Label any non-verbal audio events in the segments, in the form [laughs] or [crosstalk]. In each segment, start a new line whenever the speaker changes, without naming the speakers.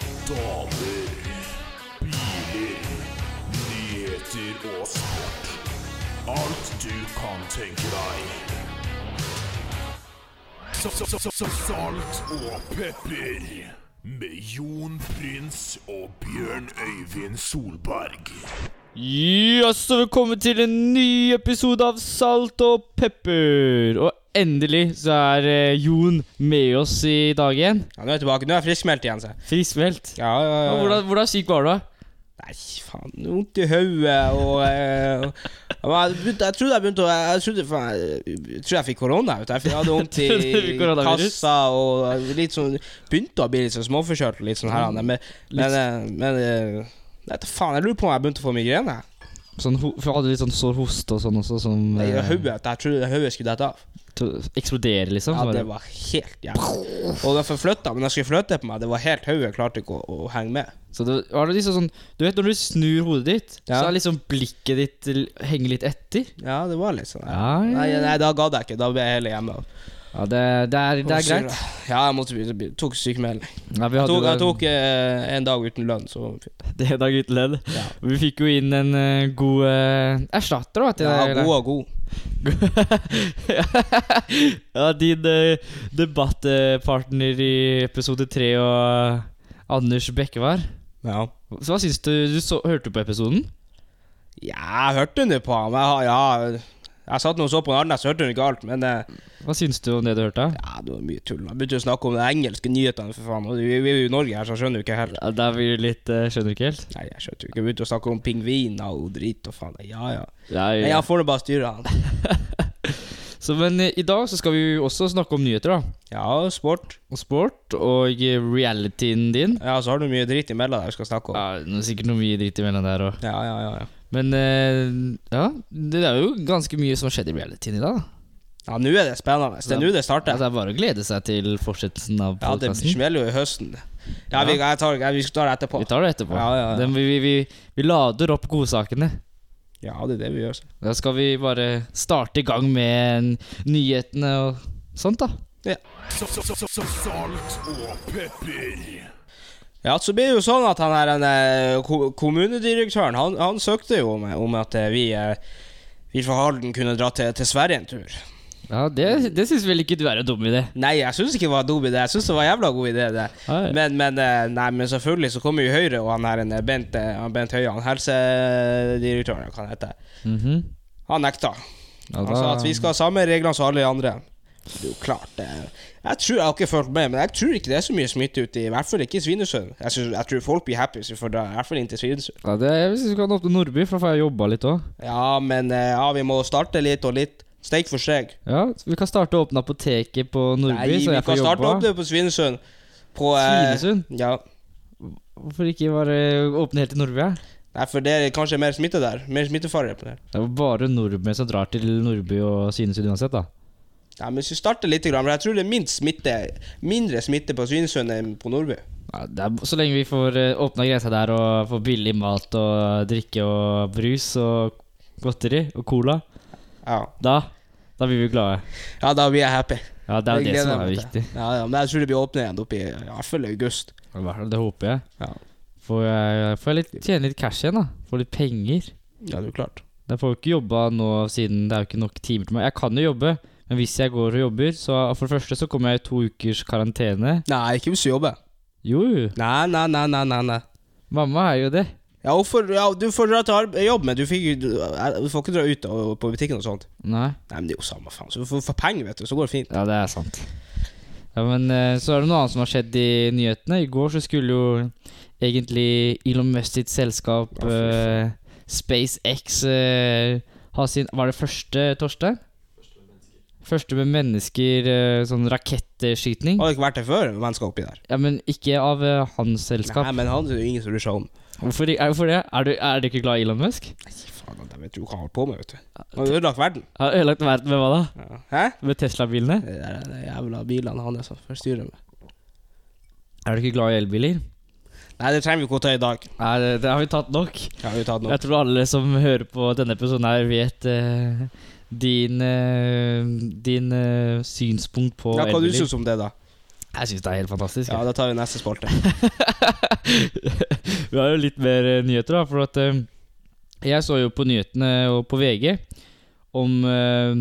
Damer, biler, nyheter og sport. Alt du kan tenke deg. Sa- sa- sa- sa- Salt og pepper. Med Jon Prins og Bjørn Øyvind Solberg.
Yes, og velkommen til en ny episode av Salt og pepper. Og endelig så er eh, Jon med oss i dag igjen.
Ja, nå er jeg tilbake. Nå er jeg friskmeldt igjen, se.
Friskmeldt.
Ja, ja, ja.
Ja, hvordan, hvordan syk var du? da?
Nei, faen. Vondt i hodet og eh, og jeg, begynte, jeg trodde jeg begynte å Jeg trodde faen, jeg, jeg, tror jeg fikk korona. Vet du. Jeg hadde
[laughs]
vondt i
Trodde du fikk koronavirus?
kassa og litt sånn Begynte å bli litt sånn småforkjølt. og Litt sånn her,
Mm.
men men, eh, men eh, Nei, ta faen, jeg lurer på om jeg begynte å få migrene.
Sånn, ho- for jeg hadde litt sånn sår hoste og sånn også, som
I
eh,
hodet. at Jeg trodde hodet skulle dette av.
to- eksploderer, liksom.
Ja,
så
det
bare-
var helt jævlig. Og derfor flytta men jeg skulle flytte på meg. Det var helt hodet klarte ikke å, å henge med.
Så det var det liksom sånn Du vet når du snur hodet ditt,
Ja.
så er liksom blikket ditt l- henger litt etter.
Ja, det var litt sånn. ja.
Ja, ja.
Nei, nei, da gadd jeg ikke. Da ble jeg heller hjemme.
ja det, det, er, det er greit.
Ja, jeg måtte, bli- bli- tok sykemelding.
Ja, vi
Jeg
hadde
tok, jeg
jo-
tok eh, en dag uten lønn, så
Det er dag uten ledd.
Ja.
Vi fikk jo inn en eh, god eh, erstatter. da, til
ja,
deg,
god og god.
[laughs] ja, Din uh, debattpartner i episode tre og eh, Anders Bekkevar.
Ja.
Så hva syns du? Du så, hørte du på episoden?
ja, jeg hørte nå på ham. Jeg, har- ja, jeg satt nå og så på en annen, så hørte hun ikke alt. Men eh,
Hva syns du om det du hørte?
ja, det var mye tull. Jeg begynte å snakke om de engelske nyhetene, for faen. Og vi, vi er jo i Norge her, så jeg skjønner jo ikke helt.
Ja, Der blir du litt eh, Skjønner du ikke helt?
Nei, jeg skjønte jo ikke. Jeg begynte å snakke om pingviner og drit og faen. Ja, ja.
Nei,
Men jeg får nå bare styre han.
Så, men eh, i dag så skal vi jo også snakke om nyheter, da.
Ja, sport.
Og sport. Og eh, realityen din.
Ja, så har du mye drit imellom der vi skal snakke om.
Ja, det er sikkert noe mye dritt imellom der òg.
Ja, ja, ja. ja.
Men eh, ja, det er jo ganske mye som har skjedd i realityen i dag. da.
Ja, nå er det spennende. Det er nå det starter.
Altså, det er bare å glede seg til fortsettelsen av
Ja, det
podkasten.
smeller jo i høsten. Ja, Vi, jeg tar, jeg, vi skal ta det etterpå.
vi tar det etterpå.
Ja, ja, ja.
Den, vi, vi, vi, vi lader opp godsakene.
Ja, det er det vi gjør. så.
Da skal vi bare starte i gang med nyhetene og sånt, da.
Sa- sa- sa- sa- Salt og pepper.
Ja, så blir det jo sånn at han her, den, eh, ko- kommunedirektøren, han, han søkte jo om, om at eh, vi, eh, vi fra Halden kunne dra til, til Sverige en tur.
Ja, Det, det syns vel ikke du er en dum idé.
Nei, jeg syns ikke det var en dum idé. Jeg syns det var en jævla god idé, det.
Nei.
Men, men, eh, nei, men selvfølgelig så kommer jo Høyre og han her, den Bent, eh, han Bent Høie, han helsedirektøren, hva han heter,
Mhm.
han nekta.
Ja,
Han
da-
sa Altså, at vi skal ha samme regler som alle de andre. Det er jo klart det. Jeg tror, jeg har ikke fulgt med, men jeg tror ikke det er så mye smitte ute. I hvert fall ikke i Svinesund. Jeg, synes, jeg tror folk blir happy hvis vi får dra, i hvert fall inn til Svinesund.
Ja, det, jeg syns vi kan opp til Nordby, for da får jeg jobba litt òg.
Ja, men eh, ja, vi må starte litt og litt. Steg for steg.
Ja, så vi kan starte å åpne apoteket på Nordby,
Nei,
så
vi
jeg
kan
får
starte
jobba.
opp det på Svinesund. På, eh,
Svinesund?
Ja.
Hvorfor ikke bare åpne helt til Nordby? Ja?
Nei, for det er kanskje mer smitte der. Mer smittefare på det.
Det er jo bare nordmenn som drar til Nordby og Svinesund uansett, da.
Nei, men hvis vi starter litt, grann, for jeg tror det er minst smitte, mindre smitte på Svinesund enn på Nordby.
Ja, det er, så lenge vi får eh, åpna grensa der og får billig mat og eh, drikke og brus og godteri og cola,
Ja.
da, da blir vi glade.
ja, da blir jeg happy.
Ja, det er jo
Jeg
det som
gleder
er
meg til
viktig.
Ja, ja, men jeg tror det blir åpnet igjen oppe i i hvert fall i august.
I hvert fall, Det håper jeg.
Ja.
Får jeg, får jeg litt, tjene litt cash igjen, da. Får litt penger.
Ja, det er klart.
Jeg får jo ikke jobba nå siden det er jo ikke nok timer til meg. Jeg kan jo jobbe, men hvis jeg går og jobber, så for det første så kommer jeg i to ukers karantene.
Nei, ikke hvis du jobber.
Jo,
Nei, nei, nei, nei, nei. nei.
mamma er jo det.
Ja, hvorfor, ja, du får dra til arbe- jobb, men du, fikk, jo- du, eh, du får ikke dra ut og, på butikken og sånt.
Nei.
Nei, men det er jo samme faen. Så du får, får penger, vet du, så går det fint.
Ja, det er sant. Ja, men eh, så er det noe annet som har skjedd i nyhetene. I går så skulle jo egentlig Elon Musk sitt selskap
Ja, fy faen.
eh, SpaceX eh, ha sin Var det første, Torstein? Første med mennesker, eh, sånn rakettskyting.
Har det ikke vært det før, mennesker oppi der?
Ja, men ikke av eh, hans selskap.
Nei, men han er det jo ingen som bryr seg om.
Hvorfor, i- er, hvorfor det? Er du, er du ikke glad i Elon Musk?
Nei, faen, de vet jo hva han holder på med, vet du. Han har ødelagt verden.
Har ødelagt verden med hva da?
Ja. Hæ?
Med Tesla-bilene?
Det er de jævla bilene han er som forstyrrer med.
Er du ikke glad i elbiler?
Nei, det trenger vi ikke å ta i dag.
Nei, det, det har vi tatt nok.
Ja, vi har tatt noe.
Jeg tror alle som hører på denne episoden her, vet eh, din, eh, din eh, synspunkt på
Ja, hva du
elbiler.
synes om det da?
Jeg syns det er helt fantastisk. [laughs]
Ja, da tar vi neste spalte.
Vi har jo litt mer eh, nyheter, da. For at eh, jeg så jo på nyhetene og på VG om, eh,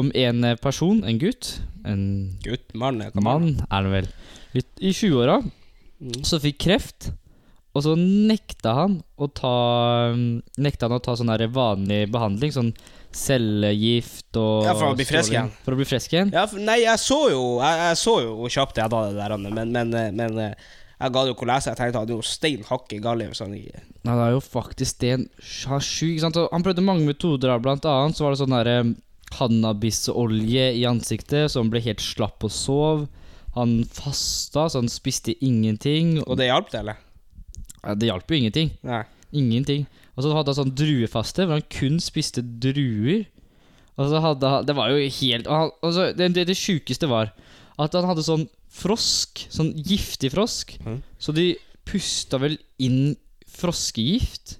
om en eh, person, en gutt, en
[laughs] Gutt, mann heter
mann er det vel, litt i 20-åra,
Mm.
så fikk kreft. Og så nekta han å ta um, Nekta han å ta sånn der vanlig behandling, sånn cellegift og
Ja, for å bli frisk
stråling.
igjen.
For å bli frisk igjen.
Ja, for, nei, jeg så jo Jeg, jeg så jo hvor kjapt jeg ga det der, Anne, men, men, eh, men eh, jeg ga det jo ikke å lese. Jeg tenkte at det var stein hakke gale hvis han ikke
Nei, det er jo faktisk det en har sju ikke sant? Og Han prøvde mange metoder, da. blant annet så var det sånn derre cannabisolje i ansiktet, så han ble helt slapp og sov. Han fasta, så han spiste ingenting.
Og det hjalp, det, eller?
Ja, det hjalp jo ingenting.
Nei.
Ingenting. Og så hadde han sånn druefaste, hvor han kun spiste druer. Og så hadde han Det var jo helt og han, og så, Det, det, det sjukeste var at han hadde sånn frosk, sånn giftig frosk,
Mhm.
så de pusta vel inn froskegift.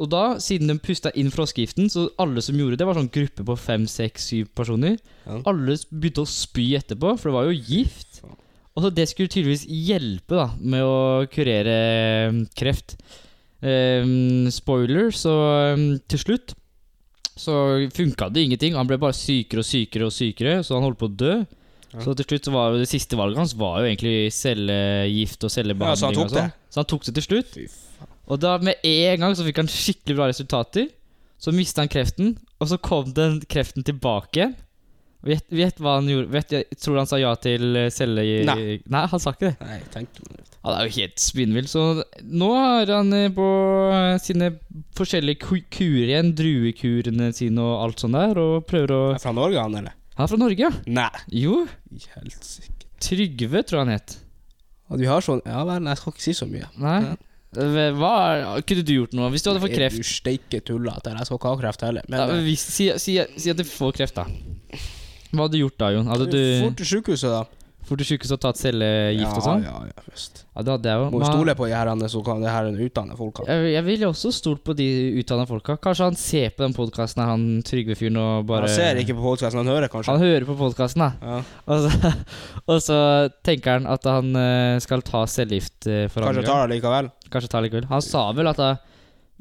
Og da, siden de pusta inn froskegiften, så alle som gjorde det, var sånn gruppe på fem, seks, syv personer.
Ja.
Alle s- begynte å spy etterpå, for det var jo gift. Og så det skulle tydeligvis hjelpe da med å kurere eh, kreft. Ehm, spoiler, så ehm, til slutt så funka det ingenting. Han ble bare sykere og sykere og sykere, så han holdt på å dø. Så til slutt så var jo det siste valget hans var jo egentlig cellegift og cellebehandling.
Ja, så han tok
og sånn.
det?
Så han tok det til slutt.
Fy faen.
Og da med en gang så fikk han skikkelig bra resultater. Så mista han kreften, og så kom den kreften tilbake. igjen. Og Gjett gjett hva han gjorde. Vet, jeg tror du han sa ja til eh, celle...
Nei.
Nei, han sa ikke det.
Nei, tenkte man ikke.
Han er jo helt spinnvill. Så nå har han eh, på eh, sine forskjellige ku- kurer igjen, druekurene sine og alt sånt der, og prøver å
Er han fra Norge, han, eller?
Han er fra Norge, ja.
Nei.
Jo.
I helsike.
Trygve, tror jeg han het.
Og du har sånn Ja vel, jeg skal ikke si så mye.
Nei. Eh, Hva er- Kunne du gjort noe hvis du hadde fått
Nei,
kreft?
Du steike tullete. Jeg skal ikke ha kreft heller. Men
Ja, men
eh,
hvis, si, si, si at du får kreft, da. Hva hadde du gjort da, Jon? Hadde
fort
du
til sykehuset, da.
fort til sjukehuset og tatt cellegift og sånn?
Ja, ja, ja, visst.
Ja, det hadde jeg jo.
Må jo
Men-
stole på de her andre som kan det her utdanne folk. Han
Jeg, jeg ville også stolt på de utdanna folka. Kanskje han ser på den podkasten, han Trygve-fyren, og bare
Han ser ikke på podkasten, han hører kanskje.
Han hører på podkasten, da. [laughs]
Ja.
Og så, og så tenker han at han eh, skal ta cellegift eh, for andre
Kanskje tar det likevel.
gang. Kanskje ta likevel. Han sa vel at eh,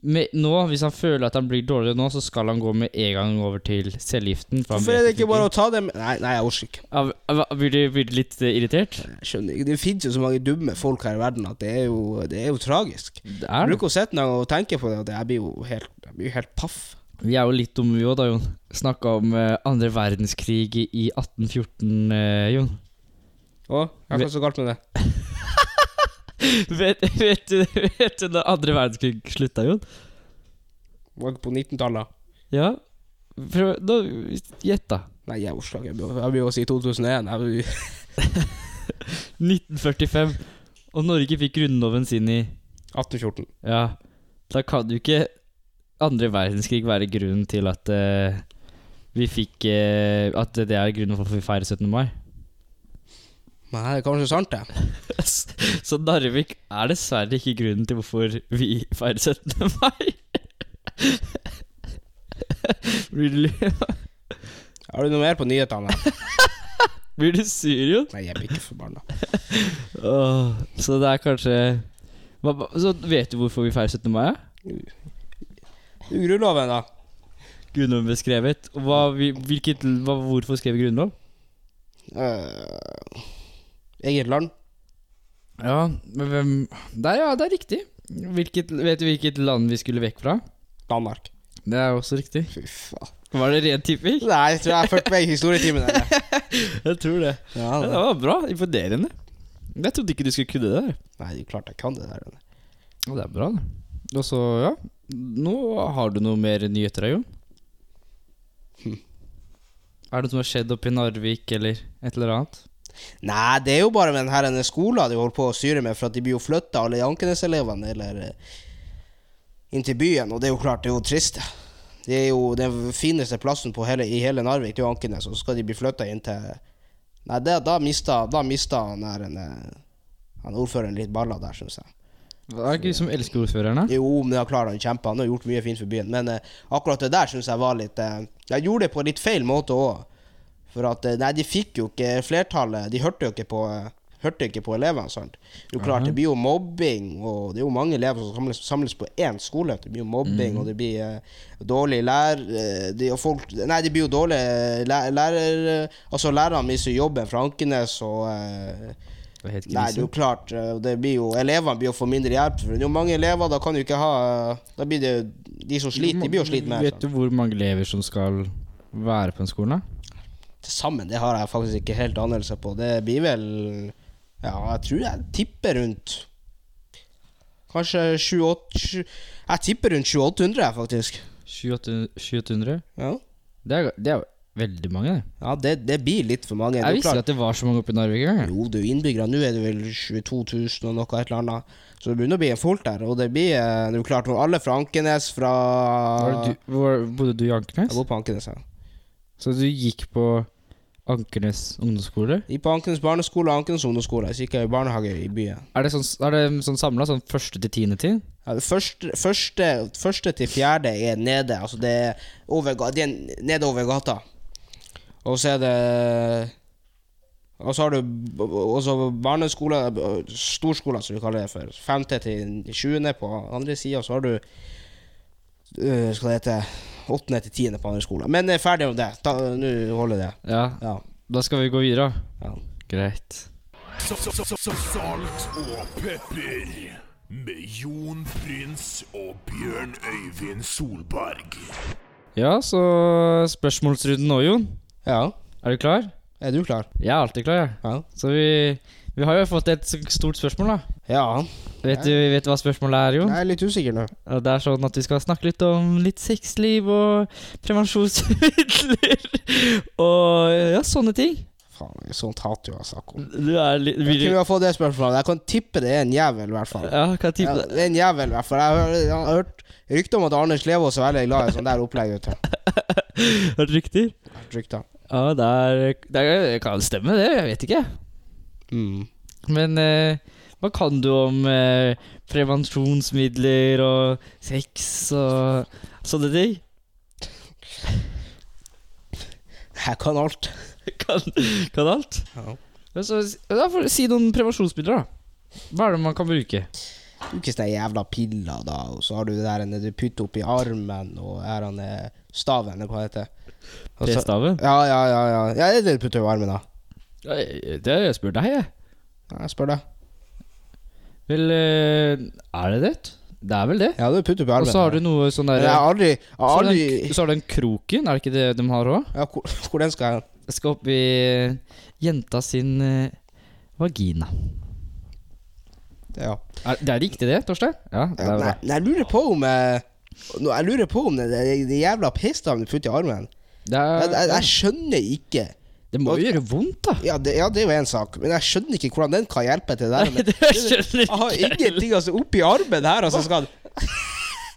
med, nå, hvis han føler at han blir dårligere nå, så skal han gå med en gang over til cellegiften. for han
Hvorfor
vet
er det ikke
funker.
bare å ta det med Nei, nei, jeg orker ikke.
Ja, hva- Blir du, blir du litt eh, irritert?
Jeg skjønner ikke. Det finnes jo så mange dumme folk her i verden at det er jo, det er jo tragisk.
Det
Jeg
er det.
bruker å sitte ned og tenke på det, og det- jeg blir jo helt, jeg blir jo helt paff.
Vi er jo litt dumme vi òg, da, Jon. Snakka om eh, andre verdenskrig i i 1814, eh, Jon.
Å, hva er det så galt med det?
Vet, [laughs] vet, du, vet du når andre verdenskrig slutta, Jon?
Var ikke på 19-tallet.
Ja? Prøv, da, gjett, da.
Nei, jeg orker ikke. Jeg blir- Jeg blir jo å si 2001. Jeg blir,
1945. Og Norge fikk grunnloven sin i
1814.
Ja, da kan jo ikke andre verdenskrig være grunnen til at eh, vi fikk eh, At det er grunnen for at vi feirer 17. mai.
Nei, det er kanskje sant, det.
[laughs] Så Narvik er dessverre ikke grunnen til hvorfor vi feirer 17. mai. [laughs] Blir du,
Har du noe mer på nyhetene?
blir du sur, Jon?
Nei, jeg blir ikke forbanna.
Åh, så det er kanskje hva, hva- Så vet du hvorfor vi feirer 17. mai? ja?
Du, Grunnloven, da?
Grunnloven ble skrevet. Og hva, vi- hvilket, hva, hvorfor skrev vi grunnlov?
Eh, eget land?
Ja, men hvem Der, ja, det er riktig. Hvilket, vet du hvilket land vi skulle vekk fra?
Danmark.
Det er også riktig.
Fy faen.
Var det ren tipping?
Nei, jeg tror jeg har fulgt med i historietimen. eller?
[laughs] Jeg tror det. [laughs] Ja, det
Ja,
var bra. Imponerende. Jeg trodde ikke du skulle kunne det der.
Nei, det er klart jeg kan det der.
Ja, det er bra, det. Og så, ja. Nå har du noe mer nyheter, da, Jon? Hm. Er det noe som har skjedd oppe i Narvik, eller et eller annet?
Nei, det er jo bare med den her denne skolen de holder på å styre med, for at de blir jo flytta, alle Ankenes-elevene, eller eh, inn til byen, og det er jo klart, det er jo trist. Det er jo den fineste plassen på hele, i hele Narvik, det er jo Ankenes, og så skal de bli flytta inn til Nei, det, da mista, da mista han her en, eh, han ordføreren litt baller der, syns jeg.
Det er ikke du som elsker ordføreren, da?
Jo, men det er klart han kjemper, han har gjort mye fint for byen, men eh, akkurat det der syns jeg var litt eh, Jeg gjorde det på litt feil måte òg. For at eh, Nei, de fikk jo ikke flertallet. De hørte jo ikke på eh, Hørte jo ikke på elevene. sant? Det er jo klart, det blir jo mobbing, og det er jo mange elever som samles, samles på én skole. Det blir jo mobbing, og det blir eh, dårlig lær... eh, det, og folk, nei, det blir jo dårlig eh, læ- lærer... Altså, lærerne mister jo jobben fra Ankenes, og eh,
Det er helt
Nei, det er
krise.
jo klart. eh, Det blir jo, elevene blir jo for mindre hjelp. For det er jo mange elever, da kan du ikke ha eh, Da blir det De som sliter, de blir jo sliten med. altså.
Vet
sant?
du hvor mange elever som skal være på en skole? da?
Til sammen, det har jeg faktisk ikke helt anelse på. Det blir vel Ja, jeg tror jeg tipper rundt Kanskje 28 Jeg tipper rundt 2800, jeg, faktisk.
28 2800?
Ja,
Det er, det er jo veldig mange, det.
ja det, det blir litt for mange.
Jeg
det er
visste
klart.
ikke at det var så mange oppe i Narvik engang.
Jo, det er jo innbyggere. Nå er det vel 22 000 og noe et eller annet. Så det begynner å bli folk der. Og det blir eh, Det er jo klart, når alle fra Ankenes, fra
Var det du- hvor- Bodde du i
Jeg
Ankernes?
bor på Ankenes, ja.
Så du gikk på Ankernes ungdomsskole?
Gikk på Ankenes barneskole og Ankenes ungdomsskole. Så gikk jeg i barnehage i byen.
Er det sånn, er det sånn samla? Sånn første til tiende til?
Ja, det første, første, første til fjerde er nede. Altså det er, over, ga- det er nede over gata. Og så er det Og så har du b- og så barneskoler, b- storskoler som vi kaller det for. Femte til sjuende på andre sida, og så har du øh, skal det hete åttende til tiende på andre skoler. Men eh, ferdig om det. Ta- Nå holder det.
Ja,
Ja.
da skal vi gå videre.
ja.
Greit.
S- s- s- s- Salt og pepper med Jon Prins og Bjørn Øyvind Solberg.
Ja, så spørsmålsrunden nå, Jon.
ja.
Er du klar?
Er du klar?
Jeg er alltid klar, jeg.
Ja.
Så vi, vi har jo fått et stort spørsmål, da.
ja.
Vet du vet du hva spørsmålet er, Jon?
Jeg er litt usikker nå.
Og det er sånn at vi skal snakke litt om litt sexliv og prevensjonsmidler [laughs] og ja, sånne ting.
Faen, sånt hater jo jeg å snakke om.
Du er litt
Jeg
vil,
kunne ha fått det spørsmålet. Jeg kan tippe det er en jævel, i hvert fall.
Ja, hva
Ja,
type det?
det er en jævel, i hvert fall. Jeg har, jeg har hørt rykter om at Anders Levaas er veldig glad i sånn der opplegg. vet du.
Er det riktig?
Jeg har hørt Rykter.
Ja, det er Det er- kan stemme, det. Jeg vet ikke.
Mm.
Men eh, hva kan du om eh, prevensjonsmidler og sex og sånne ting?
Jeg kan alt.
Kan, kan alt?
Ja.
Ja, Så, da får du si noen prevensjonsmidler, da. Hva er det man kan bruke?
Ikke sånne jævla piller, da, og så har du det der ene du putter oppi armen, og her han er staven, eller hva det heter. Og
Altså-
så-
P-staven?
Ja, ja, ja. ja. ja det er det du putter oppi armen, da.
Ja, jeg- Det jeg spør deg, jeg.
Ja, jeg spør deg.
Vel, eh, er det det? Det er vel det.
Ja, du putter oppi armen.
Og så har du noe sånn
Men
der
Jeg har aldri, jeg
så
har
har, du
aldri
den, så har du den kroken, er det ikke det de har òg?
ja, hvor, hvor den skal jeg?
Jeg skal opp i eh, jenta sin eh, vagina.
Ja.
Er, det er riktig det, Torstein? Ja, det
Ja,
er
nei,
bra.
nei, jeg lurer på om eh, nå- Jeg lurer på om det, det, det jævla p-staven du putter i armen
Det,
jeg, jeg,
er,
jeg skjønner ikke
det må jo gjøre vondt, da.
ja det, ja, det er jo en sak, men jeg skjønner ikke hvordan den kan hjelpe til det
[laughs]
der.
Nei,
Men
det skjønner
jeg har
ikke.
ingenting altså oppi armen her, altså skal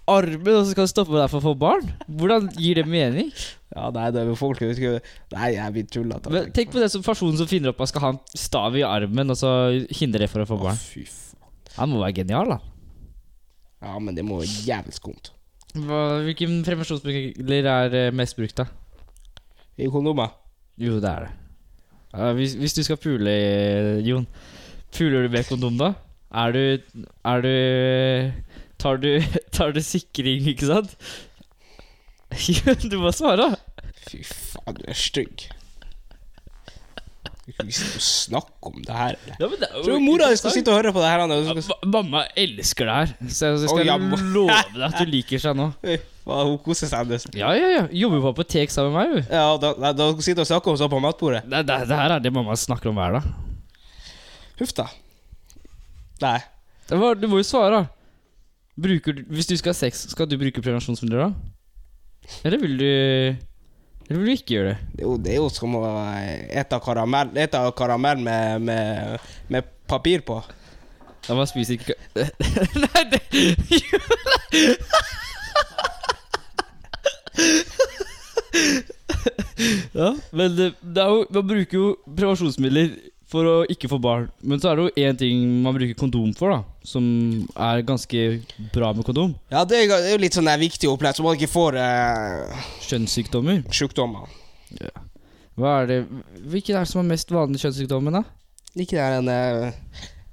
Armen, og så skal du stoppe deg for å få barn? Hvordan gir det mening?
Ja, nei, det er jo folk som skulle Nei, jeg blir tullete.
Men tenk på det som personen som finner opp at man skal ha en stav i armen, og så hindre det for å få barn.
Fy faen.
Han må være genial, da.
Ja, men det må være jævlig skumt.
Hva, hvilken prevensjonsmidler er eh, mest brukt, da?
I kondomer.
Jo, det er det. Ja, hvis, hvis du skal pule, eh, Jon, puler du med kondom da? Er du, er du Tar du, [laughs] tar du sikring, ikke sant? [laughs] Jon, du må svare.
Fy faen, du er stygg. Du kan ikke sitte og snakke om det her.
Ja, men det er jo
Tror du mora di skal
interessant.
sitte og høre på det her? Anne, og så skal-
Ma- Mamma elsker det her, så jeg
Å,
skal
ja, ma-
love deg at du liker seg nå.
Fy faen, Hun koser seg. Anders.
Ja, ja, ja. Jobber på apotek sammen med meg, jo.
Ja, da, da, da sitter og snakker om sånn på matbordet.
Det, det, det her er det mamma snakker om hver dag.
Huff da. Nei.
Det var- Du må jo svare, da. Bruker, du- hvis du skal ha sex, skal du bruke prevensjonsmidler da? Eller vil du Eller vil du ikke gjøre det?
Det er jo, det er jo som å ete karamell, ete karamell med, med, med papir på.
Da man spiser ikke [laughs] Nei, det [laughs] Ja, men det, det er jo, man bruker jo prevensjonsmidler for å ikke få barn. Men så er det jo én ting man bruker kondom for, da. Som er ganske bra med kondom.
Ja, det er jo- det er jo litt sånn der viktig opplegg, så man ikke får eh,
Kjønnssykdommer.
sjukdommer.
Hva er det Hvilken er det som er mest vanlig kjønnssykdommen, da?
Ikke det her en eh,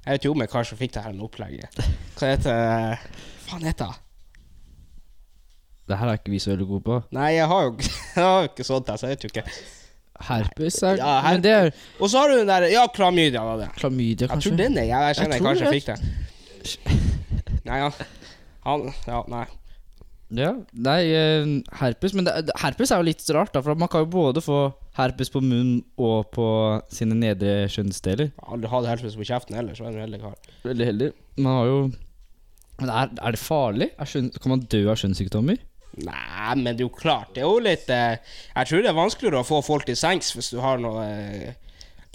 Jeg vet jo om en kar som fikk det her med opplegget. Hva heter det? Faen heter det?
Det her er ikke vi så veldig gode på.
Nei, jeg har jo [laughs] ikke- jeg har jo ikke sånt, her, så jeg vet jo ikke.
Herpes er
Ja,
Men det er
Og så har du den der Ja, klamydia var det.
klamydia,
Jeg
kanskje.
tror den er Jeg, jeg
Jeg
kjenner jeg
tror
kanskje
det.
fikk det. Nei, ja. Han Ja, nei.
Ja, nei, eh, herpes Men det, er- herpes er jo litt rart, da. For man kan jo både få herpes på munnen og på sine nedre kjønnsdeler.
Jeg har aldri hatt helsepress på kjeften heller, så jeg er en heldig kar.
Veldig heldig. Man har jo Men er, er det farlig? Er skjønn, kan man dø av kjønnssykdommer?
Nei, men det er jo klart. Det er jo litt eh, Jeg tror det er vanskeligere å få folk til sengs hvis du har noe eh,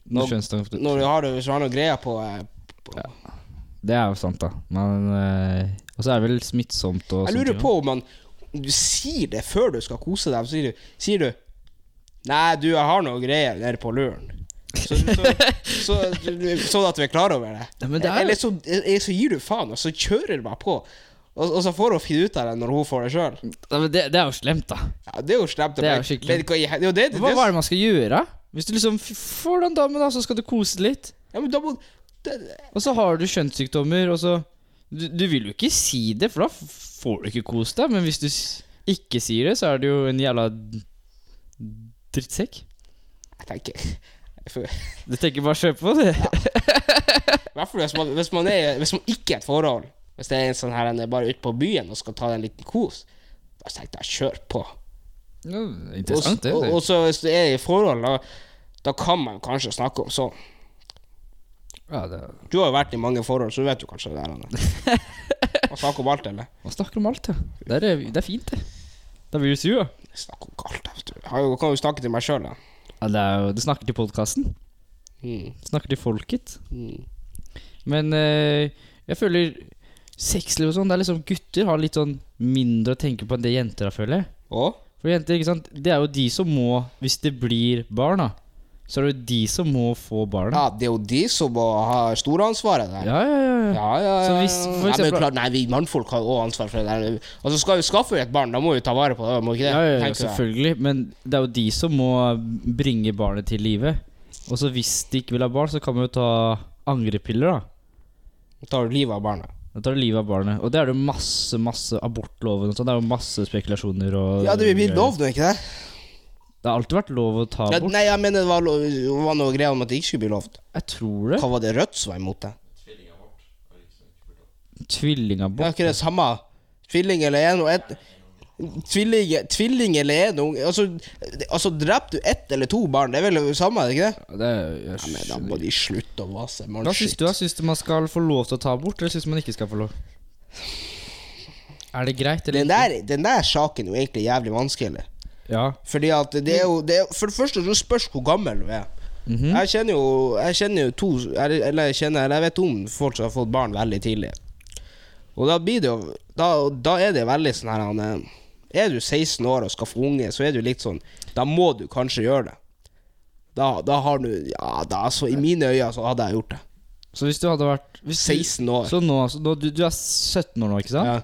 Når
Nå-
kjønnssykdom-
Når du har, hvis du har noe greier på, eh, på
Det er jo sant, da. Men eh, Og så er det vel smittsomt og
Jeg
sånne
lurer
ting,
på om man om du sier det før du skal kose deg. Så sier du, sier du 'Nei, du, jeg har noe greier nede på luren'. Så, så,
[laughs]
så, så, sånn at du er klar over det.
Ja, men det er-
Eller så, eller så gir du faen, og så kjører du meg på. Og, og så får hun finne ut av det når hun får det sjøl.
da. Nei, men det, det er jo slemt, da.
Ja, det er jo slemt.
Det er jo skikkelig.
Men hva i hel- Det er jo det, det,
Hva, hva
det,
er det man skal gjøre? Hvis du liksom f- får den damen, da, så skal du kose litt.
ja, men da må, det,
Og så har du kjønnssykdommer, og så du, du vil jo ikke si det, for da f- får du ikke kost deg. Men hvis du s- ikke sier det, så er du jo en jævla d- drittsekk.
Jeg tenker for,
Du tenker bare kjøp på det.
I hvert fall hvis man, hvis man, er, hvis man ikke er i et forhold. Hvis det er en sånn her en er bare ute på byen og skal ta en liten kos. Da tenkte jeg kjør på.
[laughs] Ja,
Og-
interessant, det.
Og, og så hvis det er i forhold, da, da kan man kanskje snakke om sånn.
Ja, det er-
Du har jo vært i mange forhold, så du vet jo kanskje det der. Anne.
[laughs]
Man snakker om alt, eller?
Man snakker om alt, ja. Det er, det er fint, det. Da blir du sur, da.
Jeg snakker om alt, vet du. Jeg har jo- kan jo snakke til meg sjøl, da.
Ja, det er jo, du snakker til podkasten.
Mm.
Snakker til folket.
Mm.
Men eh, jeg føler sexliv og sånn, det er liksom gutter har litt sånn mindre å tenke på enn det jenter har, føler jeg.
Og?
For jenter, ikke sant, det er jo de som må, hvis det blir barn da, så er det jo de som må få barn.
Ja, det er jo de som må ha storansvaret der.
Ja, ja, ja. ja.
Ja, ja, ja.
Så
ja.
hvis for
Nei, men
eksempel-
klart, nei, vi mannfolk har òg ansvar for det der. Og så skal vi skaffe et barn, da må vi ta vare på det, må vi ikke det?
Ja, ja, ja,
Tenker jeg.
selvfølgelig, men det er jo de som må bringe barnet til livet. Og så hvis de ikke vil ha barn, så kan man jo ta angrepiller da.
Tar livet av barnet.
Da tar du livet av barnet. Og det er det jo masse, masse abortloven og sånn. Det er jo masse spekulasjoner og...
Ja, det blir lov, nå, ikke det?
Det har alltid vært lov å ta
Ja,
abort.
nei, jeg mener det var, lov, det var noe greier om at det ikke skulle bli lovt.
Jeg tror det.
Hva var det Rødt som var imot det? Det
Tvillingabort.
er ikke det samme. Tvilling eller en og ett Tvilling, tvilling eller en unge altså, det- altså, dreper du ett eller to barn, det er vel det samme, er det ikke det?
Det er, jeg
Nei, men da
skjønner
må de slutte å vase. Man,
Hva syns
Oh, shit.
du? da? Syns du man skal få lov til å ta abort, eller syns du man ikke skal få lov? Er det greit, eller?
Den der, den der saken er jo egentlig jævlig vanskelig.
Ja.
Fordi at det er jo det er, For det første så spørs hvor gammel du er. Jeg kjenner jo Jeg kjenner jo to eller- Eller jeg kjenner Eller jeg vet om folk som har fått barn veldig tidlig. Og da blir det jo Da, da er det veldig sånn her han, eh, Er du 16 år og skal få unge, så er du litt sånn Da må du kanskje gjøre det. Da, da har du Ja, da altså I mine øyne så hadde jeg gjort det.
Så hvis du hadde vært hvis du-
16 år.
Så nå, så nå du, du er 17 år nå, ikke sant?
Ja.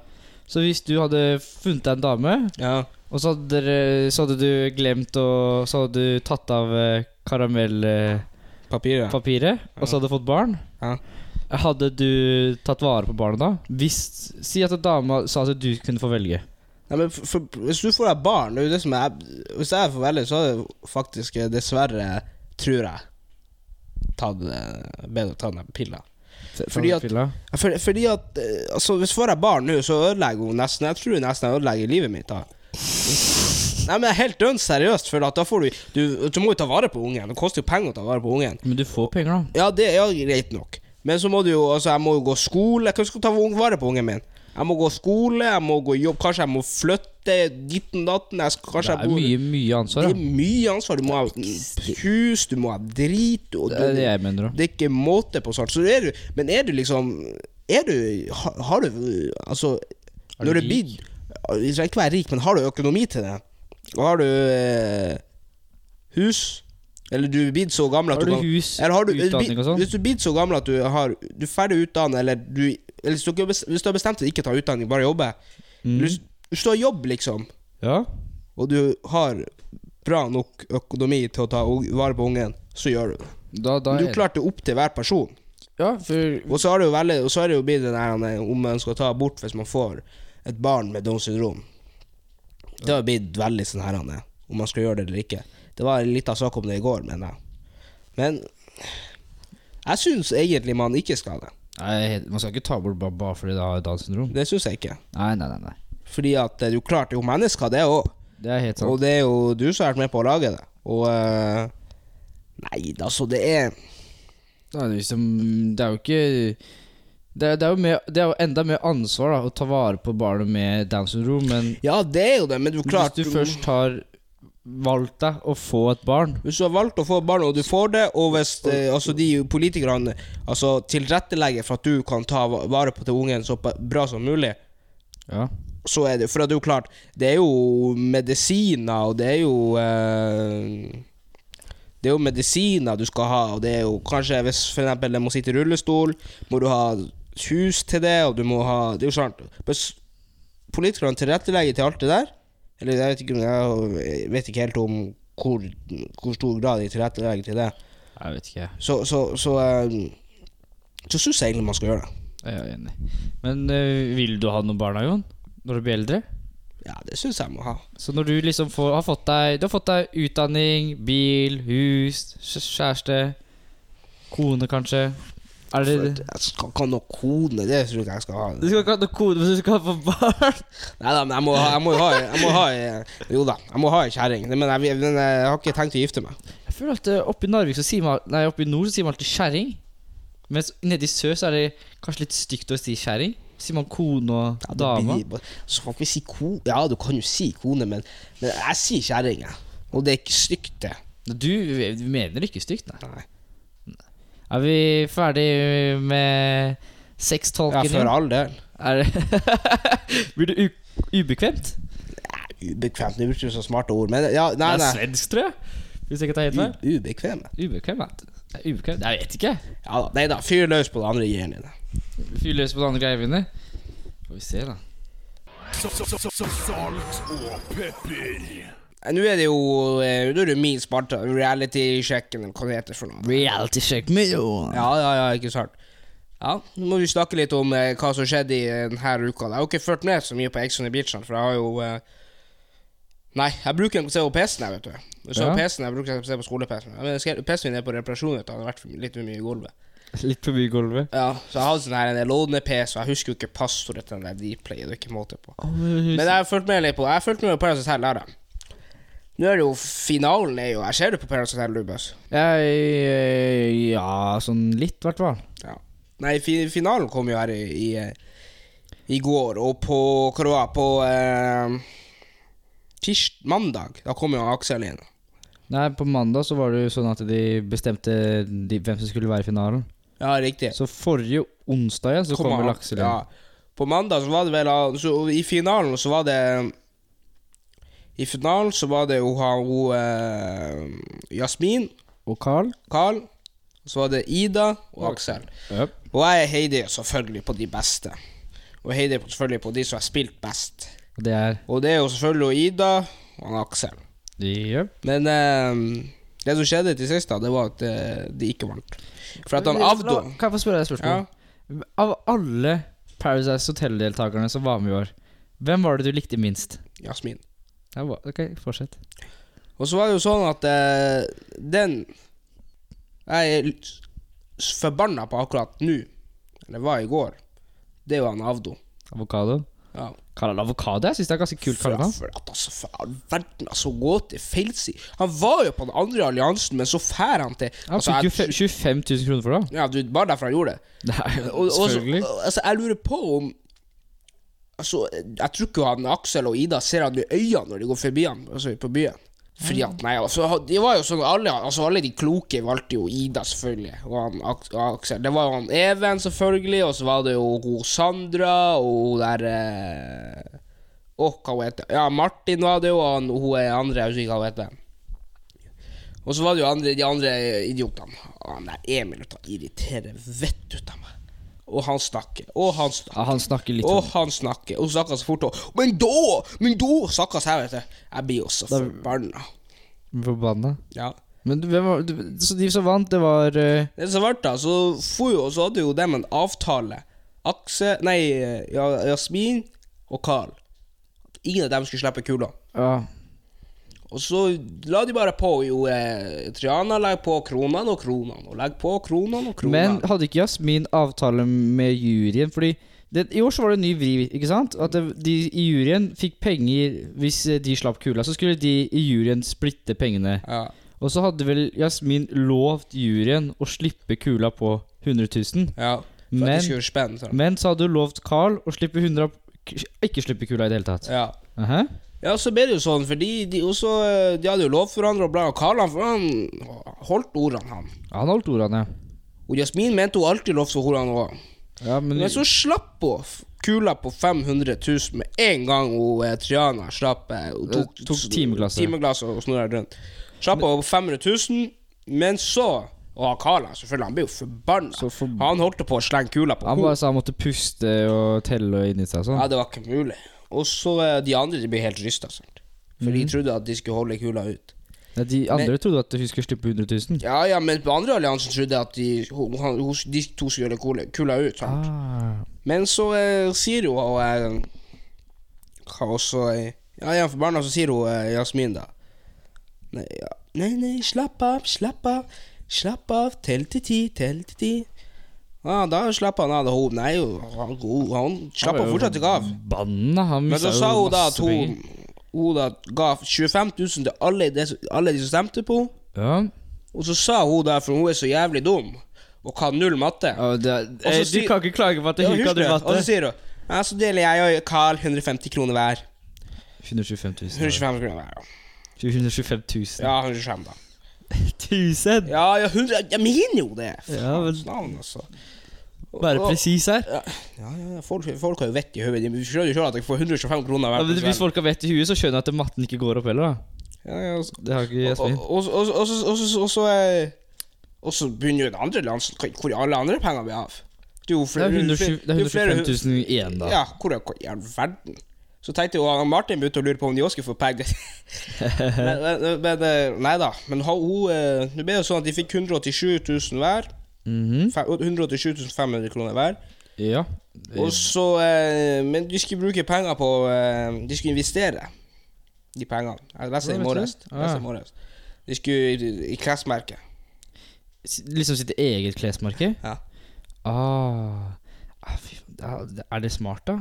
Så hvis du hadde funnet deg en dame,
ja.
og så hadde, dere, så hadde du glemt å Så hadde du tatt av eh, karamellpapiret,
Papiret.
og så hadde du fått barn
Ja.
Hadde du tatt vare på barnet da? Hvis, si at dama sa at du kunne få velge.
Nei, men for, for, hvis du får deg barn det er jo det som er, Hvis jeg får velge, så er det faktisk eh, dessverre, tror jeg, tatt, eh, bedre å ta den pilla. Fordi at-
Pilla.
Ja, For, fordi at eh, altså, Hvis jeg får deg barn nå, så ødelegger hun nesten Jeg tror nesten jeg ødelegger livet mitt. da Nei, men helt dønn seriøst, for at da får du, du Du må jo ta vare på ungen. Det koster jo penger å ta vare på ungen.
Men du får penger, da.
Ja, det er jo greit nok. Men så må du jo Altså, jeg må jo gå skole. Hva skal jeg ta vare på ungen min? Jeg må gå skole, jeg må gå jobb, kanskje jeg må flytte ditten datten jeg skal,
Det
Kanskje
er
jeg bor
mye, mye ansvar.
Det
Da.
er mye ansvar. Du må ha hus, du må ha drit og
Det er det jeg mener òg.
det er ikke måte på sånt. Så er du, men er du liksom Er du Har, har du Altså
Er du
Når det
rik?
blir Du skal ikke være rik, men har du økonomi til det? Og har du eh, hus? Eller du er blitt så gammel at
Har du
kan-
hus,
eller har du,
utdanning og sånn?
Hvis du er blitt så gammel at du har Du er ferdig utdannet, eller du eller hvis, du, ikke har bes- hvis du har bestemt deg ikke ta utdanning,
Mm.
bare jobbe Hvis, hvis du har jobb, liksom,
Ja.
og du har bra nok økonomi til å ta u- vare på ungen, så gjør du det.
Da, da
Men
er-
du klarte opp til hver person.
Ja, for
Og så har det jo, veldig, og så er det jo blitt den her eh, om man skal ta abort hvis man får et barn med Downs syndrom. Det har blitt veldig sånn her, eh, om man skal gjøre det eller ikke. Det var en liten sak om det i går, mener jeg. Men jeg syns egentlig man ikke skal det.
Nei, helt- Man skal ikke ta bort bare, bare fordi det har Downs syndrom.
Det syns jeg ikke.
Nei, nei, nei, nei.
Fordi at eh, du klarte jo mennesker, det òg.
Det er helt sant.
Og det er jo du som har vært med på å lage det. Og eh, Nei, altså, det er
Nei, det, er liksom, det er jo ikke det er, det, er jo mer, det er jo enda mer ansvar da, å ta vare på barnet med Downs syndrom, men
Ja, det er jo det, men du klart
hvis du først har valgt deg å få et barn
Hvis du har valgt å få barn, og du får det, og hvis eh, altså, de politikerne altså, tilrettelegger for at du kan ta va- vare på til ungen så pa- bra som mulig,
Ja,
så er det For det er jo klart, det er jo medisiner, og det er jo eh, Det er jo medisiner du skal ha, og det er jo kanskje hvis for eksempel den må sitte i rullestol, må du ha hus til det, og du må ha Det er jo sant. Hvis politikerne tilrettelegger til alt det der Eller jeg vet ikke, om- jeg vet ikke helt om hvor, hvor stor grad de tilrettelegger til det.
jeg vet ikke.
Så, så, så, eh, så syns jeg egentlig man skal gjøre det.
Jeg er enig.
Men eh, vil du ha noen barna, Jon? Når du blir eldre?
Ja, det syns jeg må ha.
Så når du liksom får, har fått deg Du har fått deg utdanning, bil, hus, kjæ- kjæreste Kone, kanskje? Er det
For Jeg skal ikke ha noe kone, det tror jeg ikke jeg skal ha.
Du skal ikke ha noen kone, men du skal få barn!
Nei da, men jeg må, ha- jeg må jo ha, jeg må ha eh, Jo da, jeg må ha ei kjerring. Nei, Men jeg, men jeg har ikke tenkt å gifte meg.
[laughs] Jeg føler at eh, oppe i Narvik så sier man Nei, oppe i nord så sier man alltid kjerring. Mens nede i sør så er det kanskje litt stygt å si kjerring. Sier man kone og
Ja, det
dame.
blir- Så kan ikke si ko... Ja, du kan jo si kone, men, men jeg sier kjerring, jeg. Og det er ikke stygt, det.
Du, du mener ikke stygt, nei.
Nei.
Er vi ferdig med
Ja,
sextolken?
for all del.
Er det [laughs] Blir det u ubekvemt?
Ubekvemt. Det brukte du så smarte ord, men ja, nei,
Det er
nei.
svensk, tror jeg. Hvis jeg ikke tar helt feil.
U- Ubekveme.
Ubekvem, vet du. Det er ubekvem. Jeg vet ikke.
Ja da. Nei da, fyr løs på det andre giren din.
Fyr løs på det andre greiene mine. Får vi se, da.
Salt og pepper.
Nei, Nå er det jo eh, Nå er det jo min spalte. Reality-sjekken, eller hva det heter for noe.
Reality check med Jon.
Ja, ja, ja, ikke sant. Ja, Nå må vi snakke litt om eh, hva som skjedde i eh, denne uka. Jeg har jo ikke fulgt med så mye på Ex on the Beach, for jeg har jo eh, Nei, jeg bruker den på å se på PC-en, jeg, vet du. Så
Ja.
PC-en jeg bruker jeg å se på skole-PC-en. Men jeg skrev- PC-en min er på reparasjon, vet du. Han har vært for my- litt for mye i gulvet.
Litt på bygolvet.
Ja, så jeg hadde sånn her en låne-PC, og jeg husker jo ikke passordet til den der Dplay. Det er ikke måte på. Men jeg har fulgt med litt på Jeg har fulgt med på Paradise Hotel, der, da. Nå er det jo finalen er jo Jeg ser det på Paradise Hotel, Lubas.
Jeg, ja, sånn litt, i hvert fall.
Ja. Nei, fi finalen kom jo her i, i, eh, i går, og på hva det var På eh, tirs mandag. Da kom jo Aksel inn.
Nei, på mandag så var det jo sånn at de bestemte de, hvem som skulle være i finalen.
Ja, riktig.
Så forrige onsdag igjen så
Kom
kommer
han.
Lakselund.
Ja. På mandag så var det vel han- så, I finalen så var det I finalen så var det jo han hun eh, Jasmin,
Og Carl.
Carl, så var det Ida og Aksel. Og jeg heier selvfølgelig på de beste. Og jeg heier selvfølgelig på de som har spilt best.
Og det er
Og det er jo selvfølgelig Ida og han Aksel.
Jøp.
Men eh, det som skjedde til sist, da, det var at eh, de ikke vant. For at han Avdo
La- Kan jeg få spørre deg et spørsmål? Av alle Paradise Hotel-deltakerne som var med i år, hvem var det du likte minst?
Jasmin.
Ja, hva- ok, fortsett.
Og så var det jo sånn at eh, den Jeg er litt s- forbanna på akkurat nå, eller var i går, det er jo han Avdo.
Avokado.
Ja.
Kaller han avokado? Jeg syns det er ganske kult
For,
kallenavn.
for at altså, for all verden, altså, gå til feilside. Han var jo på den andre alliansen, men så fær han til
Han
altså,
fikk jo
jeg-
fe- 25 000 kroner for det.
Ja, du, bare derfor han gjorde det.
[laughs] Nei,
Og, og,
selvfølgelig.
og- altså, jeg lurer på om Altså, Jeg tror ikke han Aksel og Ida ser han i øynene når de går forbi han Altså på byen. Fordi at, nei, altså, han- de var jo sånn, alle, altså, alle de kloke valgte jo Ida, selvfølgelig, og han Ak- og Aksel. Det var jo han Even, selvfølgelig, og så var det jo hun Sandra, og hun der eh, Åh, hva hun heter Ja, Martin var det jo, og han, hun er andre, jeg husker ikke hva hun heter. Og så var det jo andre, de andre idiotene. Han der Emil vet du, han irriterer vettet ut av meg. Og han snakker, og han snakker.
Ja, han snakker litt
sånn.
Og han snakker, og snakker så fort og Men da! Men da! Snakker så her, vet du. Jeg blir jo så forbanna.
Forbanna.
Ja.
Men du, hvem var, du, så de som vant, det var eh,
Det som ble da, så for jo, og så hadde jo dem en avtale. Akse, nei, ja, Jasmin og Carl. Ingen av dem skulle slippe kula.
Ja.
Og så la de bare på jo eh, Triana legger på kronene og kronene, og legger på kronene
Men
og kronene.
hadde ikke Jasmin avtale med juryen? Fordi det, i år så var det en ny vri, ikke sant? At det, de i juryen fikk penger hvis eh, de slapp kula. Så skulle de i juryen splitte pengene.
Ja.
Og så hadde vel Jasmin lovt juryen å slippe kula på 100 000.
ja. For at de
Men-
skulle spenne sånn.
Men så hadde hun lovt Carl å slippe 100 av- k- Ikke slippe kula i det hele tatt.
Ja.
Aha.
Ja, så ble det jo sånn, for de, de, også, eh, de hadde jo lovt hverandre og bla, og Karl han, han holdt ordene, han.
Han holdt ordene,
Og Jasmin mente hun alltid lovte ordene òg.
ja. ja men,
Men så slapp hun f- kula på 500 000 med en gang hun, eh, Triana slapp eh, hun
Eh, tok timeglasset.
timeglasset og snurra rundt. Slapp hun på 500 000, men så Og Karl han, selvfølgelig, han ble jo forbanna.
Så forb-
Han holdt på å slenge kula på
Han
henne.
bare sa han måtte puste og telle inni seg og sånn.
Ja, det var ikke mulig. Og så eh, de andre de ble helt rysta, sant. For
Mhm.
de trodde at de skulle holde kula ut.
Nei, De andre trodde at hun skulle slippe 100 000.
Ja, ja, men på andre alliansen trodde jeg at de, hun, han, hun, de to skulle gjøre kula, kula ut. Sant?
Ah.
Men så eh, sier hun og eh, hva også eh, Ja, ja, for barna så sier hun eh, Jasmin, da. Nei, ja. nei, nei, slapp av, slapp av. Slapp av, tell til ti, tell til ti. Ja, da slapp han av. da Hun, nei, han, hun, han slapp han fortsatt ikke av.
Banna, han
Men
mista
så
jo
sa hun da at
masse
hun,
penger.
hun da ga 25 000 til alle, de- alle de som stemte på henne.
Ja.
Og så sa hun der, for hun er så jævlig dum og kan null matte.
Ja, det,
Og så
eh, du
sier-
kan ikke klage på at
Ja,
hun ikke
husker
hadde
det. Og så
vatt det.
sier hun ja, så deler jeg og Carl 150 kroner hver.
125 000.
125 kroner hver, ja.
125 000.
Ja, 125 da.
1000!
Ja, ja 100, jeg mener jo det!
Ja, vel,
Faen, altså.
Være presis her.
Ja, ja, ja, folk, folk har jo vett i hodet. De skjønner jo selv at jeg får 125 kroner
ja,
hver.
men
på
Hvis
kvelden.
folk har vett i huet, så skjønner jeg at matten ikke går opp heller.
Ja, ja, og så-
da Det har ikke
og-
Jasmin.
og- og- og- og- og- og- og- og- og- og- Og så begynner jo det andre land, så- hvor alle andre pengene blir av. Det er jo
Det
flere,
er 120 det er
jo flere-
125 000 igjen, da.
Ja, hvor, er- hvor i all verden? Så tenkte jo han Martin begynte å lure på om de også skulle få penger. [laughs] men, men, men eh, nei da. Men ha- hun eh, Det ble jo sånn at de fikk 187 000 hver.
Mhm.
Fe- 187 500 kroner hver.
Ja.
Og så eh, Men de skulle bruke penger på eh, De skulle investere de pengene. Jeg leste
Hva
i
betyr
morges.
det?
Jeg leste
Ah.
i morges. De skulle i, i klesmerket.
S- Liksom sitt eget klesmerke?
Ja.
Ah. Ah, fy faen. Da- Er det smart, da?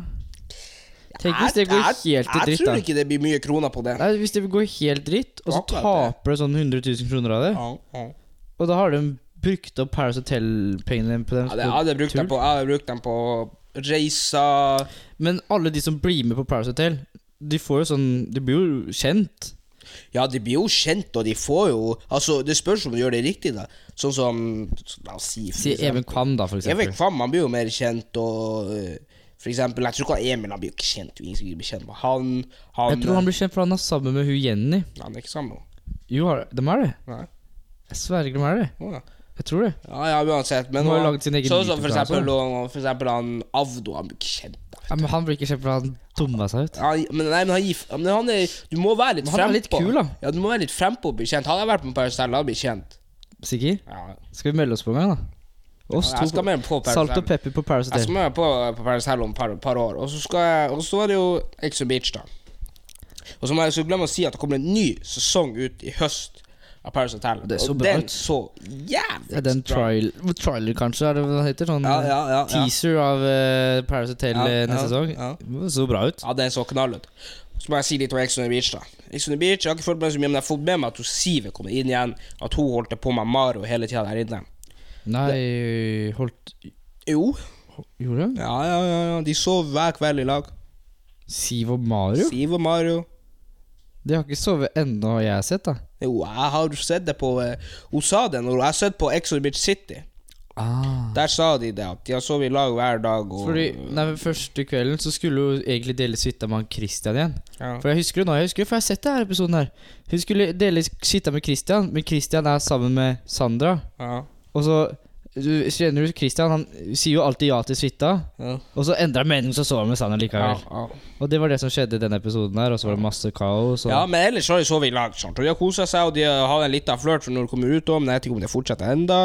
Tenk hvis det
Jeg-
går
jeg-
helt i dritt,
Jeg
da.
tror ikke det blir mye kroner på det.
Nei, Hvis det går helt dritt, og så
Akkurat
taper du sånn 100 000 kroner av det,
Ja, ja.
og da har de brukt opp Paris Hotel-pengene på dem
Ja, det- Jeg hadde brukt dem på, jeg hadde brukt dem på reiser
Men alle de som blir med på Paris Hotel, de får jo sånn De blir jo kjent.
Ja, de blir jo kjent, og de får jo Altså, det spørs om du gjør det riktig, da. Sånn som La oss si for
Si Even Kvam, da, for
Even
eksempel.
Kvam, han blir jo mer kjent, og øh, for eksempel Jeg tror ikke han Emil han blir jo ikke kjent. Ingen skal bli kjent med han. Han,
Jeg tror han blir kjent for han er sammen med hun Jenny.
han er ikke sammen med henne.
Jo, har- de er det.
Nei.
Jeg sverger de er det.
Å, ja.
Jeg tror det.
Ja, ja, uansett. Men
Han har jo
han-
laget sin egen altså.
sånn som for
YouTube-kanal,
eksempel, og, for eksempel han Avdo, han blir ikke kjent. da.
Ja, men han blir ikke kjent for han dumma seg ut.
Han, men nei, men han, gir, men han er Du må være litt
Men han er litt
frempå.
kul, da.
Ja, du må være litt frempå og bli kjent. Hadde jeg vært med Paracel, hadde jeg blitt kjent.
Sikker?
Ja,
Skal vi melde oss på en gang, da? Oss
jeg
to.
skal med på
Salt
Paracel.
og pepper på Paris
Jeg skal
Hotel.
med på, på Paris Hell om et par, par år. Og så skal jeg Og så er det jo Exo Beach, da. Og så må jeg så glemme å si at det kommer en ny sesong ut i høst av Paris Hotel.
Det er så
og
bra
den
ut.
så jævlig
Er det en trial, trailer, kanskje? Er det hva det heter? Sånn
Ja, ja, ja, ja.
teaser av eh, Paris Hotel
Ja,
eh,
ja,
neste sesong?
ja.
Det så bra ut.
Ja, den så knall ut. Så må jeg si litt om Exo Beach, da. Exo Beach, Jeg har ikke fulgt med så mye, men jeg har fått med meg at hun Sive kom inn igjen. At hun holdt på med Mario hele tida der inne.
Nei Holdt
Jo.
Gjorde hun?
Ja, ja, ja. ja. De sov hver kveld i lag.
Siv og Mario?
Siv og Mario.
De har ikke sovet ennå, jeg har sett, da.
Jo, jeg har sett det på eh, Hun sa det når hun Jeg har sett på Exo Beach City.
Ah.
Der sa de det, at de har sovet i lag hver dag. Og,
Fordi nei, men Første kvelden så skulle hun egentlig dele suita med han Christian igjen.
ja.
For jeg husker det nå, jeg husker det, for jeg har sett det her episoden her. Hun skulle dele suita med Christian, men Christian er sammen med Sandra.
Ja.
Og så du, Kjenner du Christian? Han sier jo alltid ja til suita,
Ja.
og så endra han mening, så sov han med Sanner likevel.
Ja,
Og det var det som skjedde i denne episoden her, og så var det masse kaos. Og
Ja, men ellers har de sovet i lag. sant? Og de har kosa seg, og de har en liten flørt for når de kommer ut òg, men jeg vet ikke om det fortsetter enda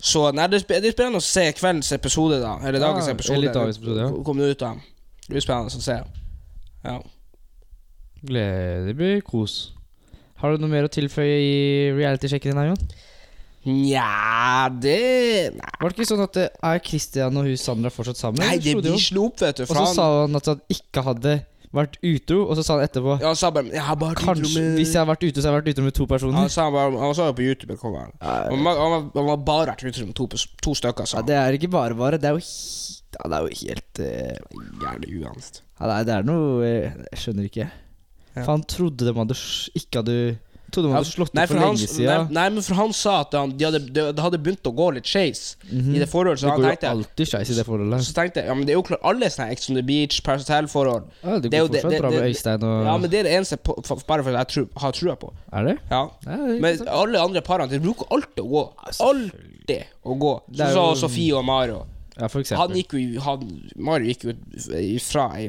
Så nei, det er sp- det er spennende å se kveldens episode, da. Eller
Ja,
dagens episode.
eller dagens episode, ja.
Hvor kommer det ut av? Det blir spennende å se. Ja.
ble- det blir kos. Har du noe mer å tilføye i reality-sjekken din, her, Jon?
Nja, det Nei,
Var det ikke sånn at det er Christian og hun Sandra fortsatt sammen?
nei
Eller
det
slo de
blir
opp?
slo opp, vet du.
Og så
Faen.
sa han at han ikke hadde vært utro, og så sa han etterpå
Ja, han sa bare Jeg har bare
Kanskje, hvis jeg har vært ute, så har jeg vært ute med to
han
personer.
sa bare, han sa jo på YouTube kom han. Han var, han var, han var bare vært ute med to, pers- to stykker, sa
Ja,
han.
det er ikke bare bare. Det er jo, he- ja, det er jo helt eh,
Jævlig uansett.
ja, Nei, det er noe eh, Jeg skjønner ikke.
Ja.
For han trodde de hadde s- ikke hadde Trodde de
Ja,
hadde slått
nei,
opp for
han-
lenge siden.
Nei, nei, men for han sa at han, de hadde, det, det hadde begynt å gå litt skeis i det forholdet. Så
Det
han
går jo
tenkte
alltid skeis i det forholdet.
så tenkte jeg, ja, men det er jo klart alle sånne Ex on the Beach, Paris Hotel-forhold
Ja, det går
er jo
fortsatt bra med
det-
Øystein og
Ja, men det er det eneste på, for, bare for at jeg tror, har trua på.
Er det?
Ja.
Ja, det er
Men alle andre parene, det bruker alltid å gå. Alltid å gå.
Det er
Sånn
jo-
som Sofie og Mario.
ja, for
Han
eksempel.
gikk jo han, Mario gikk jo ifra ei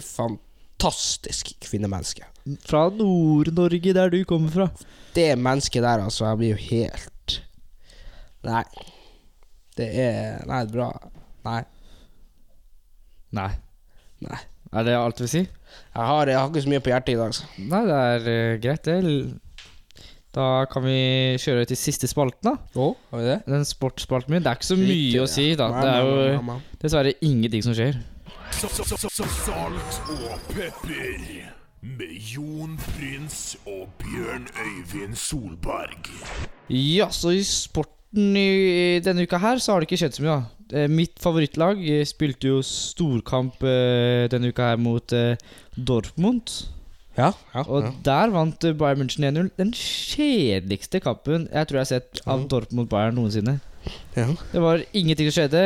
fantastisk kvinnemenneske.
Fra Nord-Norge, der du kommer fra.
det mennesket der, altså, jeg blir jo helt Nei. Det er Nei, bra. Nei.
Nei.
Nei.
Er det alt du vil si?
Jeg har, jeg har ikke så mye på hjertet i dag, altså.
Nei, det er eh, greit, det. Da kan vi kjøre til siste spalten, da.
har vi det?
Den sportsspalten min. Det er ikke så mye å si, da. Det er jo dessverre ingenting som skjer.
S- s- s- s- Salt og pepper med Jon Prins og Bjørn Øyvind Solberg.
Ja, så i sporten i denne uka her, så har det ikke skjedd så mye, da. Eh, Mitt favorittlag eh, spilte jo storkamp eh, denne uka her mot eh, Dortmund.
Ja, ja,
Og
ja.
der vant eh, Bayern München 1-0. Den kjedeligste kampen jeg tror jeg har sett av Dortmund mot Bayern noensinne.
ja.
Det var ingenting som skjedde.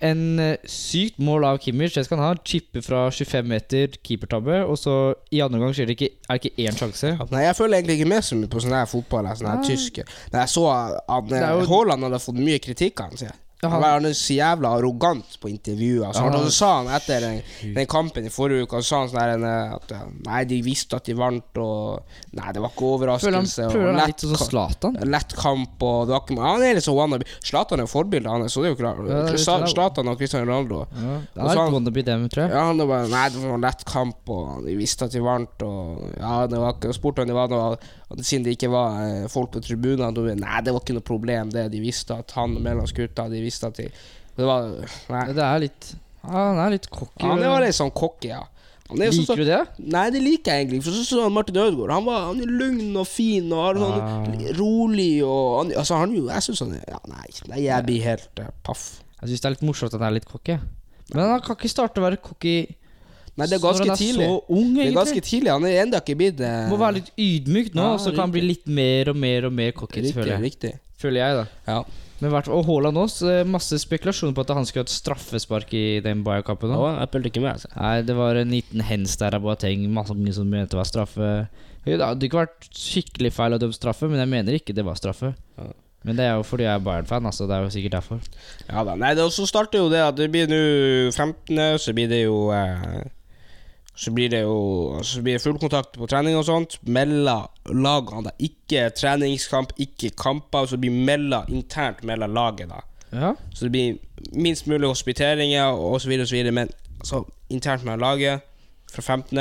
En eh, sykt mål av Kimmich. Det skal han ha. Chippe fra 25 meter, keepertabbe. Og så i andre omgang skjer det ikke, er det ikke én sjanse.
Nei, jeg føler egentlig ikke med så mye på sånn her fotball. Sånn her tysk Nei, jeg så at
er
eh,
jo-
Haaland hadde fått mye kritikk av han, sier jeg.
Ja,
Han var han er så jævla arrogant på intervjuer. Altså.
Ja,
Og så sa han etter den, den kampen i forrige uke så sa han sånn her, eh, at eh, Nei, de visste at de vant, og Nei, det var ikke
Føler han
overraskelse. og
prøver han
lett
litt sånn
ka-
som Zlatan.
lett kamp og det var ikke, Han er litt sånn wannabe. Zlatan er jo forbildet hans, så det er jo klart.
Ja, det er
Zla-
klart.
Zlatan og Cristiano Ronaldo.
Ja,
Og
det
så
er
han-
wannabe dem, tror jeg.
Ja, han er bare Nei, det var en lett kamp, og de visste at de vant, og Ja, det var ikke spurte han det var noe og Siden det ikke var eh, folk på tribunene, da Nei, det var ikke noe problem, det. De visste at han og mellomsgutta De visste at de Det var Nei.
Det er litt ja, Han er litt cocky.
Han er jo litt sånn cocky, ja. Han er jo sånn som-
Liker du det?
Nei, det liker jeg egentlig. For så så han Martin Ødegaard. Han, var, han er lugn og fin og har sånn
Ah.
rolig og han, Altså, han er jo Jeg syns han er ja, nei, nei, jeg blir helt eh, paff.
Jeg syns det er litt morsomt at han er litt cocky. jeg. Men han kan ikke starte å være cocky
Nei, det
når
er ganske
han er
tidlig.
så ung,
Det er ganske
egentlig.
tidlig. Han er ennå ikke blitt eh, det.
Må være litt ydmyk nå,
Ja,
og så kan han bli litt mer og mer og mer cocky,
riktig.
føler jeg.
riktig.
Føler jeg, da.
Ja.
Men hvert, og Haaland også. eh, Masse spekulasjoner på at han skulle hatt straffespark i den Bayern-kampen. nå.
jeg følte ikke med, altså.
Nei, det var en liten hens der av Boateng. Mange som mente det var straffe. Det hadde ikke vært skikkelig feil å dømme straffe, men jeg mener ikke det var straffe.
Ja.
Men det er jo fordi jeg er Bayern-fan, altså. Det er jo sikkert derfor.
Ja da. Nei, det, og så starter jo det at det blir nå 15., så blir det jo eh, så blir det jo Så blir det fullkontakt på trening og sånt. Melder lagene, da. Ikke treningskamp, ikke kamper. Så blir melda internt mellom laget, da.
Ja.
Så det blir minst mulig hospiteringer og så videre og så videre. Men altså, internt med laget, fra 15.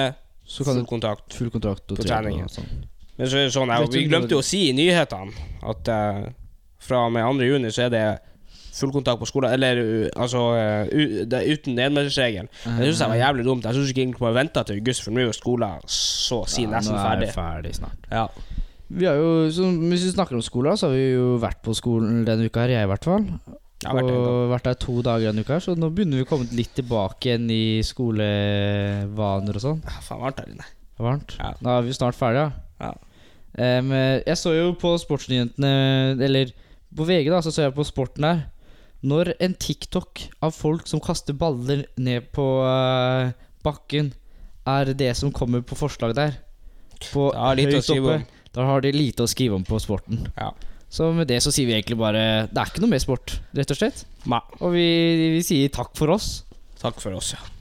så
kan du-
kan full kontrakt.
Full kontrakt og
På
tre-
trening, ja.
og sånn.
Men så er det sånn, ja,
Vet du
vi
når-
glemte jo å si i nyhetene at eh, fra og med 2. juni så er det full kontakt på skolen, eller uh, altså uh, u, det, er uten enmetersregel.
Ah.
Men Det syns jeg var jævlig dumt. Jeg syns ikke egentlig man venta til august, for nå er jo skolen så å si
Ja,
nesten
nå er
sånn ferdig.
det ferdig snart.
Ja.
Vi har jo, som, Hvis vi snakker om skolen, så har vi jo vært på skolen denne uka her, jeg i hvert fall.
Jeg har vært der en gang.
og vært der to dager denne uka her, så nå begynner vi å komme litt tilbake igjen i skolevaner og sånn.
Ja, Faen, varmt her inne.
Det er Varmt.
Ja.
Da er vi snart ferdige,
Ja.
Em, eh, jeg så jo på Sportsnyhetene, eller på VG, da, så så jeg på Sporten her. Når en TikTok av folk som kaster baller ned på eh, bakken, er det som kommer på forslag der på
Det har litt å
høyt
skrive
oppe,
om.
Da har de lite å skrive om på sporten.
Ja.
Så med det så sier vi egentlig bare Det er ikke noe mer sport, rett og slett.
Nei.
Og vi, vi sier takk for oss.
Takk for oss, ja.